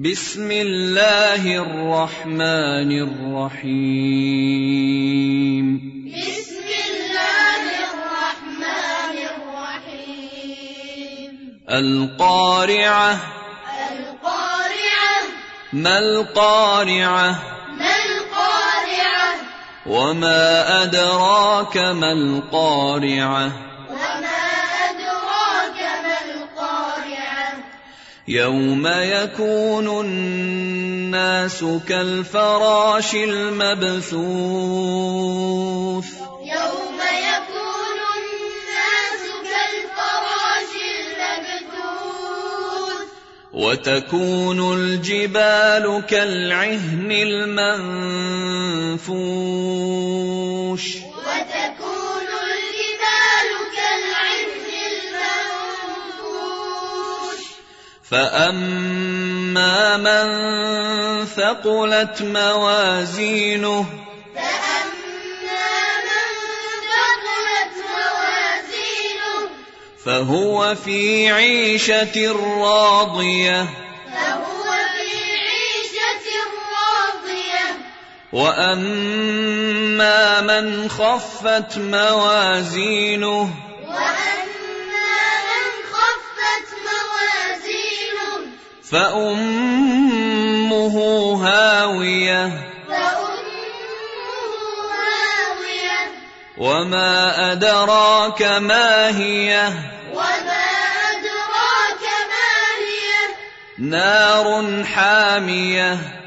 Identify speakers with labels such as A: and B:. A: بسم الله الرحمن الرحيم
B: بسم الله الرحمن الرحيم
A: القارعة
B: القارعة
A: ما القارعة
B: ما القارعة
A: وما أدراك ما القارعة
B: وما أدراك ما القارعة
A: يوم يكون الناس كالفراش المبثوث
B: يوم يكون الناس كالفراش المبثوث
A: وتكون الجبال كالعهن المنفوش
B: وتكون الجبال كالعهن المنفوش
A: فأما من ثقلت موازينه
B: فأما من ثقلت موازينه
A: فهو في عيشة راضية
B: فهو في عيشة راضية
A: وأما من خفت موازينه
B: وأما من خفت موازينه
A: فأمه هاوية
B: فأمه هاوية
A: وما أدراك ما هي
B: وما أدراك ما هي
A: نار حامية